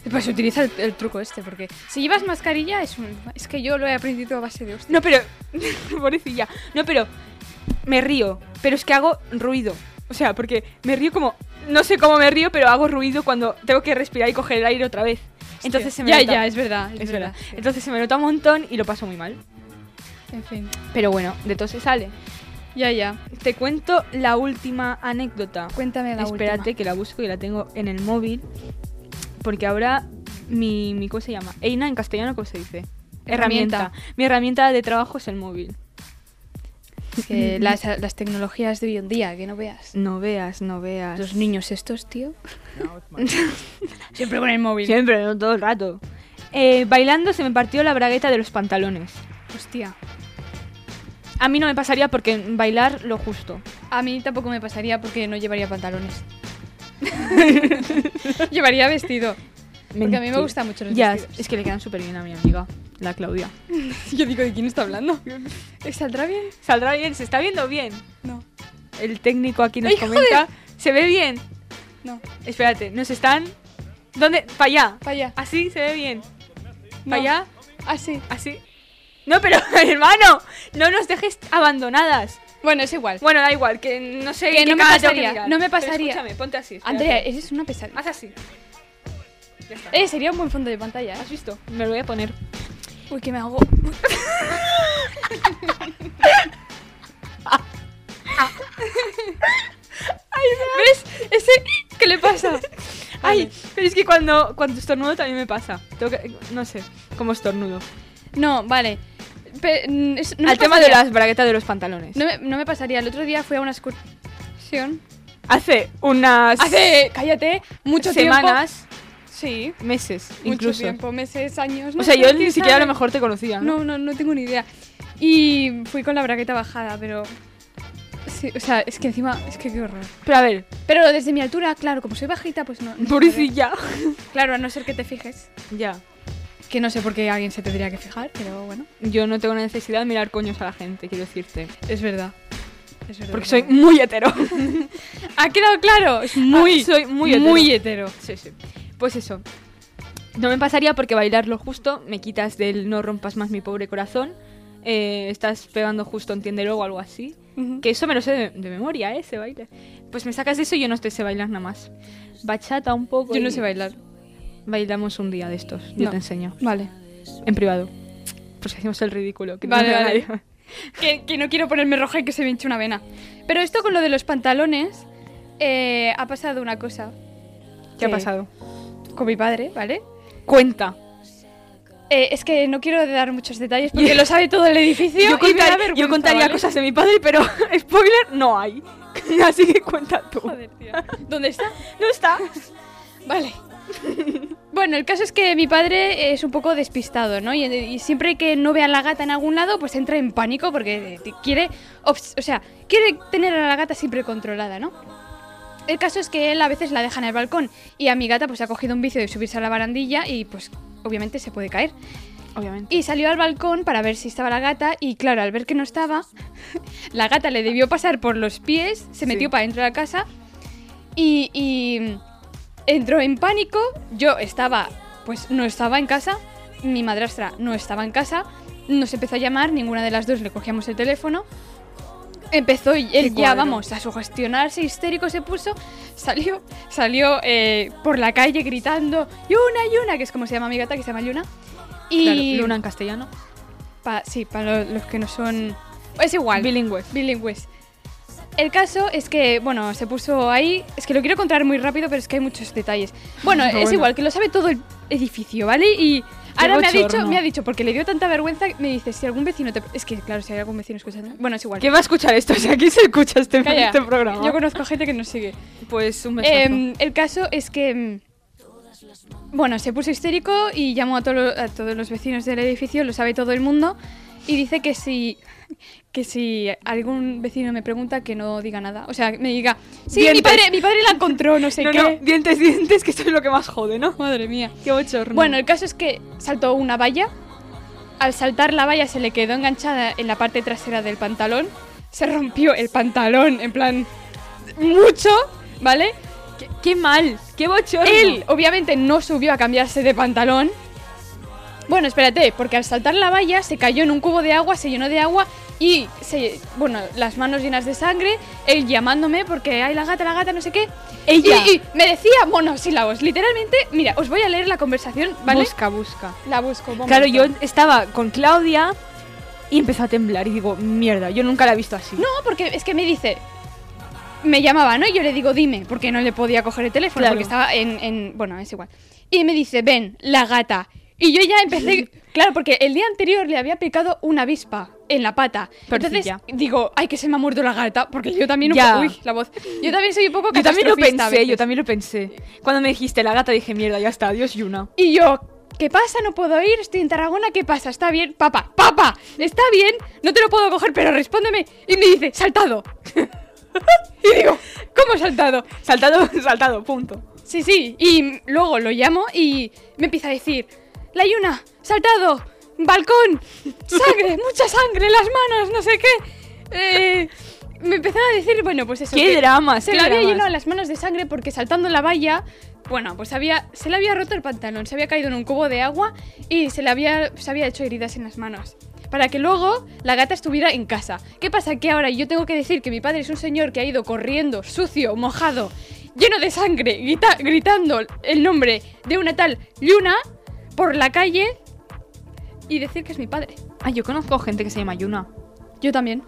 Speaker 3: pues utiliza el, el truco este, porque si llevas mascarilla es un. Es que yo lo he aprendido a base de hostia.
Speaker 2: No, pero... <laughs> Pobrecilla. No, pero... Me río. Pero es que hago ruido. O sea, porque me río como... No sé cómo me río, pero hago ruido cuando tengo que respirar y coger el aire otra vez. Entonces se me
Speaker 3: ya,
Speaker 2: nota...
Speaker 3: ya, es verdad. Es,
Speaker 2: Es verdad.
Speaker 3: sí.
Speaker 2: Entonces se me nota un montón y lo paso muy mal.
Speaker 3: En fin,
Speaker 2: Pero bueno, de todo se sale.
Speaker 3: ya, ya.
Speaker 2: Te cuento la última anécdota.
Speaker 3: Cuéntame la
Speaker 2: Espérate
Speaker 3: última.
Speaker 2: que la busco y la tengo en el móvil. Porque ahora mi, mi ¿cómo se llama? Eina en castellano, ¿cómo se dice?
Speaker 3: Herramienta.
Speaker 2: Mi herramienta de trabajo es el móvil.
Speaker 3: Es que las, las tecnologías de hoy en día, que no veas.
Speaker 2: No veas, no veas.
Speaker 3: Los niños estos, tío. <laughs> Siempre con el móvil.
Speaker 2: Siempre, no todo el rato. Eh, bailando se me partió la bragueta de los pantalones.
Speaker 3: Hostia.
Speaker 2: A mí no me pasaría porque bailar lo justo.
Speaker 3: A mí tampoco me pasaría porque no llevaría pantalones. llevaría vestido. Porque a mí me
Speaker 2: Mentira.
Speaker 3: gustan mucho los
Speaker 2: Ya,
Speaker 3: vestidos.
Speaker 2: es que le quedan súper bien a mi amiga, la Claudia.
Speaker 3: Yo digo, ¿de quién está hablando? ¿Saldrá bien?
Speaker 2: Saldrá bien, se está viendo bien.
Speaker 3: No.
Speaker 2: El técnico aquí nos
Speaker 3: ¡Ay, joder!
Speaker 2: comenta. Se ve bien.
Speaker 3: No.
Speaker 2: Espérate, nos están. ¿Dónde? Para allá.
Speaker 3: Para allá.
Speaker 2: Así se ve bien.
Speaker 3: No.
Speaker 2: Ah,
Speaker 3: Ah,
Speaker 2: Para allá,
Speaker 3: Así.
Speaker 2: así. No, pero <laughs> hermano, no nos dejes abandonadas.
Speaker 3: Bueno, es igual.
Speaker 2: Bueno, da igual, que no sé.
Speaker 3: Que
Speaker 2: en qué
Speaker 3: no me
Speaker 2: cara tengo
Speaker 3: pasaría,
Speaker 2: mirar.
Speaker 3: no me
Speaker 2: Pero
Speaker 3: pasaría. eh.
Speaker 2: escúchame, ponte así. espérate.
Speaker 3: Andrea, eres una pesadilla.
Speaker 2: haz así. Ya está.
Speaker 3: Eh, sería un buen fondo de pantalla. ¿eh?
Speaker 2: ¿Has visto? Me lo voy a poner.
Speaker 3: Uy, que me hago. ¿Ves? Ese. ¿Qué le pasa?
Speaker 2: Ay, pero es que cuando, cuando estornudo también me pasa. Tengo que- no sé, como estornudo.
Speaker 3: No, vale. pe- mm, es- no me
Speaker 2: Al tema de
Speaker 3: pasaría.
Speaker 2: las braguetas de los pantalones.
Speaker 3: No me, no me pasaría. El otro día fui a una excursión.
Speaker 2: Hace unas
Speaker 3: Hace, cállate, mucho
Speaker 2: semanas,
Speaker 3: tiempo. Sí,
Speaker 2: meses,
Speaker 3: mucho
Speaker 2: incluso.
Speaker 3: tiempo, meses, años.
Speaker 2: O
Speaker 3: no
Speaker 2: sea,
Speaker 3: sé
Speaker 2: yo
Speaker 3: quién
Speaker 2: ni siquiera a
Speaker 3: sabe.
Speaker 2: lo mejor te conocía. ¿no?
Speaker 3: No, no, no tengo ni idea. Y fui con la braqueta bajada, pero. Sí, o sea, es que encima, es que qué horror.
Speaker 2: Pero a ver,
Speaker 3: Pero desde mi altura, claro, como soy bajita, pues no. no se
Speaker 2: pobrecilla.
Speaker 3: puede. Claro, a no ser que te fijes.
Speaker 2: ya.
Speaker 3: Que no sé por qué alguien se tendría que fijar, pero bueno.
Speaker 2: Yo no tengo necesidad de mirar coños a la gente, quiero decirte.
Speaker 3: Es verdad. Es verdad.
Speaker 2: Porque soy muy <laughs> hetero.
Speaker 3: Ha quedado claro. Es muy.
Speaker 2: Ah, soy muy hetero.
Speaker 3: muy hetero.
Speaker 2: Sí, sí. Pues eso. No me pasaría porque bailar lo justo, me quitas del no rompas más mi pobre corazón, eh, estás pegando justo, entiéndelo o algo así.
Speaker 3: Ujú.
Speaker 2: Que eso me lo sé de, de memoria, ¿eh? ese baile. Pues me sacas de eso y yo no te sé bailar nada más. Bachata un poco.
Speaker 3: Yo no
Speaker 2: y
Speaker 3: sé bailar.
Speaker 2: Bailamos un día de estos, yo
Speaker 3: No.
Speaker 2: te enseño.
Speaker 3: Vale.
Speaker 2: En privado. Pues hacemos el ridículo. Que
Speaker 3: Vale,
Speaker 2: no me
Speaker 3: vale.
Speaker 2: ganaría.
Speaker 3: que, que no quiero ponerme roja y que se me hinche una vena. Pero esto con lo de los pantalones, eh, ha pasado una cosa.
Speaker 2: ¿Qué ha
Speaker 3: Que-
Speaker 2: pasado?
Speaker 3: Con mi padre, ¿vale?
Speaker 2: Eh, Cuenta.
Speaker 3: Eh, es que no quiero dar muchos detalles porque lo sabe
Speaker 2: <laughs>
Speaker 3: todo el edificio.
Speaker 2: Yo,
Speaker 3: y me
Speaker 2: contar-
Speaker 3: da
Speaker 2: yo
Speaker 3: vergüenza,
Speaker 2: contaría
Speaker 3: ¿vale?
Speaker 2: cosas de mi padre, pero <laughs> spoiler no hay. <laughs> Así que cuenta tú.
Speaker 3: <laughs> Joder, tío. ¿Dónde está?
Speaker 2: No está.
Speaker 3: Vale. Bueno, el caso es que mi padre es un poco despistado, ¿no? Y, y siempre que no ve a la gata en algún lado, pues entra en pánico porque eh, te- quiere, obs- o sea, quiere tener a la gata siempre controlada, ¿no? El caso es que él a veces la deja en el balcón y a mi gata pues ha cogido un vicio de subirse a la barandilla y pues obviamente se puede caer.
Speaker 2: Obviamente.
Speaker 3: Y salió al balcón para ver si estaba la gata y claro, al ver que no estaba, <laughs> la gata le debió pasar por los pies, se metió para dentro de la casa y, y entró en pánico. Yo estaba, pues no estaba en casa, mi madrastra no estaba en casa, nos empezó a llamar, ninguna de las dos le cogíamos el teléfono. Empezó y él ya,
Speaker 2: cuadro.
Speaker 3: vamos, a sugestionarse, histérico se puso, salió, salió eh, por la calle gritando, Yuna, Yuna, que es como se llama mi gata, que se llama Yuna. Y
Speaker 2: Claro, Luna en castellano.
Speaker 3: Pa- sí, para lo- los que no son... Es igual.
Speaker 2: Bilingües.
Speaker 3: Bilingües. El caso es que, bueno, se puso ahí... Es que lo quiero contar muy rápido, pero es que hay muchos detalles. Bueno, es
Speaker 2: Ah, Bueno.
Speaker 3: igual, que lo sabe todo el edificio, ¿vale? Y ahora me ha, dicho,
Speaker 2: bochorno.
Speaker 3: me ha dicho, porque le dio tanta vergüenza, me dice, si algún vecino te... Es que, claro, si hay algún vecino escuchando... Bueno, es igual.
Speaker 2: ¿Qué va a escuchar esto? <laughs> O sea, ¿quién se escucha este,
Speaker 3: Calla.
Speaker 2: este programa?
Speaker 3: Yo conozco gente que nos sigue.
Speaker 2: Pues un
Speaker 3: Em, el caso es que. em, Bueno, se puso histérico y llamó a, tolo- a todos los vecinos del edificio, lo sabe todo el mundo, y dice que si, que si algún vecino me pregunta, que no diga nada. O sea, que me diga, sí, mi
Speaker 2: Dientes.
Speaker 3: padre, mi padre la encontró, no sé
Speaker 2: no,
Speaker 3: qué.
Speaker 2: no, dientes, dientes, que eso es lo que más jode, ¿no?
Speaker 3: Madre mía.
Speaker 2: Qué bochorno.
Speaker 3: Bueno, el caso es que saltó una valla. Al saltar la valla se le quedó enganchada en la parte trasera del pantalón. Se rompió el pantalón, en plan, mucho, ¿vale?
Speaker 2: qué, qué mal, qué bochorno.
Speaker 3: Él, obviamente, no subió a cambiarse de pantalón. Bueno, espérate, porque al saltar la valla se cayó en un cubo de agua, se llenó de agua y, se, bueno, las manos llenas de sangre, él llamándome porque hay la gata, la gata, no sé qué.
Speaker 2: Ella.
Speaker 3: Y, y me decía monosílabos. Literalmente, mira, os voy a leer la conversación, ¿vale?
Speaker 2: Busca, busca.
Speaker 3: la busco. un
Speaker 2: Claro, yo
Speaker 3: momento.
Speaker 2: estaba con Claudia y empezó a temblar y digo, mierda, yo nunca la he visto así.
Speaker 3: No, porque es que me dice. Me llamaba, ¿no? Y yo le digo, dime, porque no le podía coger el teléfono,
Speaker 2: Claro.
Speaker 3: porque estaba en, en- Bueno, es igual. Y me dice, ven, la gata. Y yo ya
Speaker 2: <laughs>
Speaker 3: empecé. claro, porque el día anterior le había picado una avispa en la pata.
Speaker 2: Porcilla.
Speaker 3: Entonces digo, ay, que se me ha muerto la gata, porque yo también. un
Speaker 2: Ya.
Speaker 3: po- Uy, la voz. Yo también soy un poco
Speaker 2: yo también lo
Speaker 3: catastrofista a
Speaker 2: pensé, yo
Speaker 3: veces.
Speaker 2: también lo pensé. Cuando me dijiste la gata dije, mierda, ya está, adiós Yuna.
Speaker 3: Y yo, ¿qué pasa? No puedo ir, estoy en Tarragona, ¿qué pasa? ¿Está bien? Papá, papá, ¿está bien? No te lo puedo coger, pero respóndeme. Y me dice, saltado. <laughs> y digo, ¿cómo saltado?
Speaker 2: Saltado, <laughs> saltado, punto.
Speaker 3: Sí, sí, y luego lo llamo y me empieza a decir, la yuna, saltado, balcón, sangre, mucha sangre, las manos, no sé qué. Eh, me empezaba a decir, bueno, pues eso.
Speaker 2: Qué
Speaker 3: que
Speaker 2: dramas,
Speaker 3: Se
Speaker 2: qué
Speaker 3: le había
Speaker 2: dramas.
Speaker 3: llenado las manos de sangre porque saltando la valla, bueno, pues había, se le había roto el pantalón, se había caído en un cubo de agua y se le había, se había hecho heridas en las manos. Para que luego la gata estuviera en casa. ¿Qué pasa? Que ahora yo tengo que decir que mi padre es un señor que ha ido corriendo, sucio, mojado, lleno de sangre, grita- gritando el nombre de una tal Yuna por la calle y decir que es mi padre.
Speaker 2: Ay, yo conozco gente que se llama Yuna.
Speaker 3: Yo también.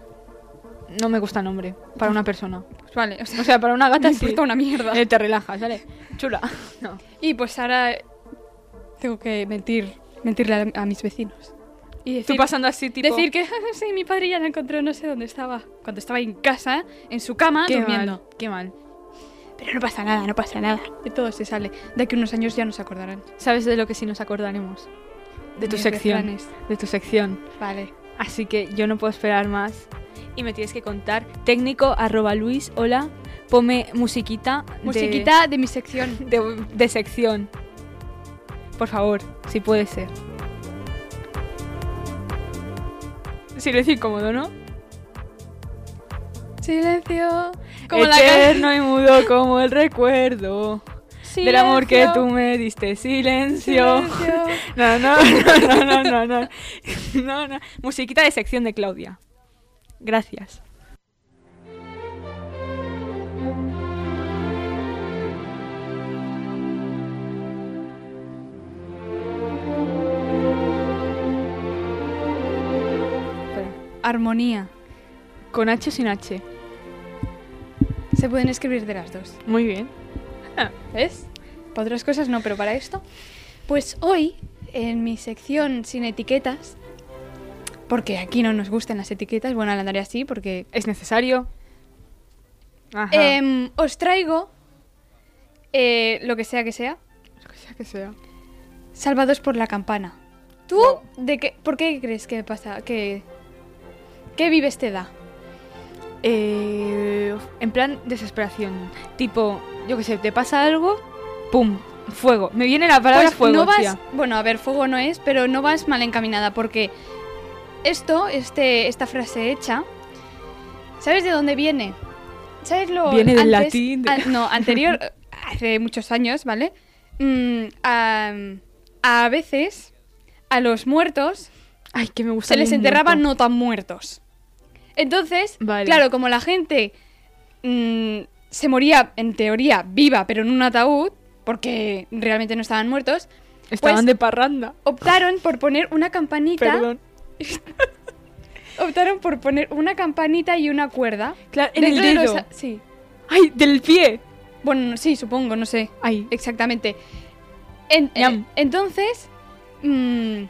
Speaker 2: No me gusta el nombre para una persona.
Speaker 3: Pues vale, o sea, <laughs>
Speaker 2: O sea, para una gata <laughs>
Speaker 3: me
Speaker 2: sí.
Speaker 3: importa una mierda.
Speaker 2: Eh, te relajas, ¿vale? Chula. <laughs> No.
Speaker 3: Y pues ahora tengo que mentir, mentirle a, a mis vecinos. Y decir,
Speaker 2: Tú pasando así, tipo...
Speaker 3: decir que <laughs> sí, mi padre ya lo encontró, no sé dónde estaba. Cuando estaba en casa, en su cama,
Speaker 2: qué
Speaker 3: durmiendo.
Speaker 2: mal, qué mal.
Speaker 3: Pero no pasa nada, no pasa nada. De todo se sale. De aquí a unos años ya nos acordarán.
Speaker 2: ¿Sabes de lo que sí nos acordaremos? De tu
Speaker 3: Mis
Speaker 2: sección.
Speaker 3: refranes.
Speaker 2: De tu sección.
Speaker 3: Vale.
Speaker 2: Así que yo no puedo esperar más. Y me tienes que contar. Técnico, arroba Luis, hola. Ponme musiquita. de-
Speaker 3: Musiquita de mi sección.
Speaker 2: <laughs> de, de sección. Por favor, si puede ser. Silencio incómodo, ¿no?
Speaker 3: Silencio. <laughs>
Speaker 2: Eterno y mudo como el recuerdo del amor que tú me diste. Silencio. <laughs> No, no, no, no, no, no, no. No, no. Musiquita de sección de Claudia. Gracias.
Speaker 3: Armonía.
Speaker 2: Con H o sin H.
Speaker 3: Se pueden escribir de las dos.
Speaker 2: Muy bien.
Speaker 3: ¿Ves? Para otras cosas no, pero para esto. Pues hoy, en mi sección sin etiquetas, porque aquí no nos gustan las etiquetas, bueno, la andaré así porque...
Speaker 2: ¿Es necesario? Ajá.
Speaker 3: Em, os traigo eh, lo que sea que sea,
Speaker 2: Lo que sea que sea.
Speaker 3: Salvados por la campana. ¿Tú de qué, por qué crees que pasa? que ¿Qué vives te da?
Speaker 2: Eh, en plan desesperación. Tipo, yo qué sé, te pasa algo, ¡pum! Fuego. Me viene la palabra
Speaker 3: Pues
Speaker 2: fuego,
Speaker 3: no vas,
Speaker 2: tía.
Speaker 3: bueno, a ver, fuego no es, pero no vas mal encaminada porque esto, este, esta frase hecha, ¿sabes de dónde viene? ¿Sabes lo
Speaker 2: Viene del
Speaker 3: antes-
Speaker 2: latín, de-
Speaker 3: an- no,
Speaker 2: <laughs>
Speaker 3: anterior, hace muchos años, ¿vale? Mm, a, a veces a los muertos
Speaker 2: Ay, que me gusta.
Speaker 3: se les
Speaker 2: un
Speaker 3: enterraba
Speaker 2: montón.
Speaker 3: no tan muertos. Entonces,
Speaker 2: Vale.
Speaker 3: claro, como la gente mm, se moría en teoría viva, pero en un ataúd, porque realmente no estaban muertos,
Speaker 2: Estaban
Speaker 3: pues-
Speaker 2: de parranda.
Speaker 3: optaron por poner una campanita.
Speaker 2: Perdón.
Speaker 3: Optaron por poner una campanita y una cuerda.
Speaker 2: Claro, en el
Speaker 3: dentro de
Speaker 2: dedo.
Speaker 3: los a- sí.
Speaker 2: Ay, del pie.
Speaker 3: Bueno, no- sí, supongo, no sé
Speaker 2: Ay,
Speaker 3: exactamente. En- eh,
Speaker 2: Yam.
Speaker 3: entonces, mm,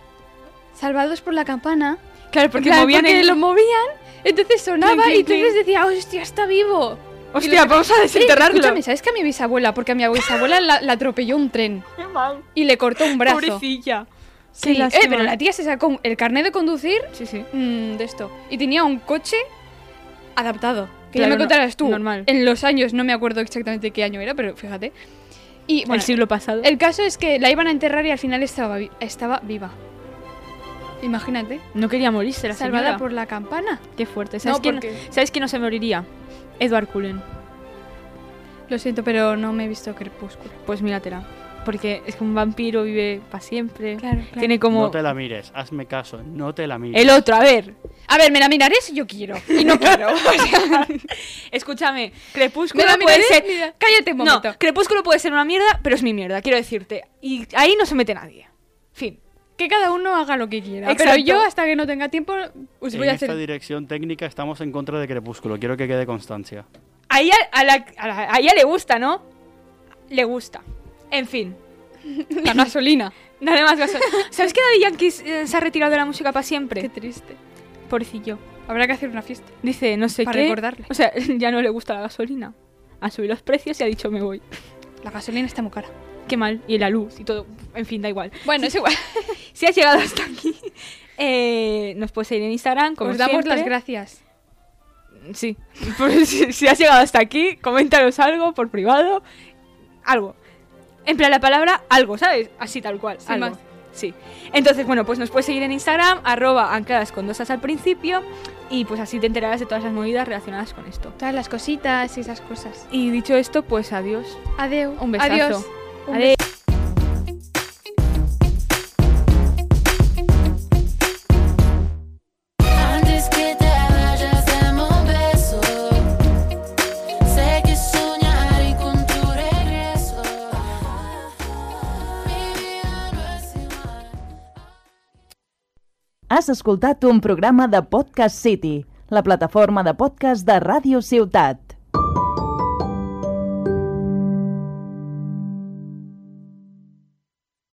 Speaker 3: salvados por la campana.
Speaker 2: claro, porque
Speaker 3: en plan,
Speaker 2: movían
Speaker 3: porque
Speaker 2: el...
Speaker 3: lo movían, entonces sonaba
Speaker 2: Clink,
Speaker 3: y
Speaker 2: clink,
Speaker 3: entonces decía, hostia, está vivo.
Speaker 2: Hostia,
Speaker 3: y
Speaker 2: vamos a
Speaker 3: Sí,
Speaker 2: desenterrarlo.
Speaker 3: escúchame, ¿sabes que a mi bisabuela? Porque a mi bisabuela la, la atropelló un tren
Speaker 2: Qué mal.
Speaker 3: y le cortó un brazo.
Speaker 2: Pobrecilla.
Speaker 3: Sí,
Speaker 2: Qué
Speaker 3: eh,
Speaker 2: lástima.
Speaker 3: pero la tía se sacó el carnet de conducir
Speaker 2: Sí, sí.
Speaker 3: mm, de esto. Y tenía un coche adaptado. Que
Speaker 2: Claro,
Speaker 3: ya
Speaker 2: no-
Speaker 3: me contarás tú.
Speaker 2: normal.
Speaker 3: En los años, no me acuerdo exactamente qué año era, pero fíjate. Y bueno,
Speaker 2: el siglo pasado.
Speaker 3: el caso es que la iban a enterrar y al final estaba, vi- estaba viva. Imagínate.
Speaker 2: No quería morirse la
Speaker 3: salvada
Speaker 2: señora.
Speaker 3: por la campana.
Speaker 2: Qué fuerte. ¿Sabes,
Speaker 3: No,
Speaker 2: quién...
Speaker 3: porque-
Speaker 2: ¿Sabes quién no se moriría? Edward Cullen.
Speaker 3: Lo siento, pero no me he visto crepúsculo.
Speaker 2: Pues míratela. Porque es que un vampiro vive para siempre.
Speaker 3: Claro, claro.
Speaker 2: Tiene <laughs> como.
Speaker 5: No te la mires, hazme caso, no te la mires.
Speaker 2: El otro, a ver.
Speaker 3: A ver, me la miraré si
Speaker 2: <laughs>
Speaker 3: yo quiero. Y no quiero. O sea,
Speaker 2: Escúchame,
Speaker 3: me
Speaker 2: Crepúsculo
Speaker 3: la
Speaker 2: puede
Speaker 3: miraré.
Speaker 2: ser.
Speaker 3: mira, Cállate un
Speaker 2: No,
Speaker 3: momento.
Speaker 2: Crepúsculo puede ser una mierda, pero es mi mierda, quiero decirte. Y ahí no se mete nadie. Fin.
Speaker 3: Que cada uno haga lo que quiera.
Speaker 2: Exacto.
Speaker 3: Pero yo, hasta que no tenga tiempo, os
Speaker 2: pues
Speaker 5: en
Speaker 3: voy a
Speaker 5: esta
Speaker 3: hacer
Speaker 5: dirección técnica estamos en contra de Crepúsculo, quiero que quede constancia.
Speaker 2: Ahí a, a la, a la- a ella le gusta, ¿no? Le gusta. En fin.
Speaker 3: la gasolina.
Speaker 2: <laughs> Nada más gaso- ¿Sabes que Daddy Yankee eh, se ha retirado de la música para siempre?
Speaker 3: Qué triste.
Speaker 2: Pobrecillo.
Speaker 3: Habrá que hacer una fiesta.
Speaker 2: Dice, no sé
Speaker 3: Para
Speaker 2: qué.
Speaker 3: recordarle.
Speaker 2: O sea, <laughs> ya no le gusta la gasolina. Ha subido los precios y ha dicho, me voy.
Speaker 3: La gasolina está muy cara.
Speaker 2: Qué mal. Y la luz y todo. En fin, da igual.
Speaker 3: Bueno,
Speaker 2: <laughs>
Speaker 3: es igual.
Speaker 2: Si has llegado hasta aquí, <laughs> eh, nos puedes seguir en Instagram. Como
Speaker 3: Os damos
Speaker 2: siempre.
Speaker 3: las gracias.
Speaker 2: Sí. <laughs> Pues, si, si has llegado hasta aquí, coméntanos algo por privado. Algo. En plan, la palabra algo, ¿sabes? Así tal cual.
Speaker 3: Sin
Speaker 2: algo.
Speaker 3: más.
Speaker 2: Sí. Entonces, bueno, pues nos puedes seguir en Instagram, arroba ancladas con dosas al principio. Y pues así te enterarás de todas las movidas relacionadas con esto.
Speaker 3: Todas las cositas y esas cosas.
Speaker 2: Y dicho esto, pues adiós.
Speaker 3: Adeu.
Speaker 2: Un besazo.
Speaker 3: Adiós. Un
Speaker 2: Adeu.
Speaker 4: Antes que te vayas, dame un beso. Sé que soñaré con tu regreso. Mi vida no es igual.
Speaker 1: Has escoltat un programa de Podcast City, la plataforma de podcast de Ràdio Ciutat.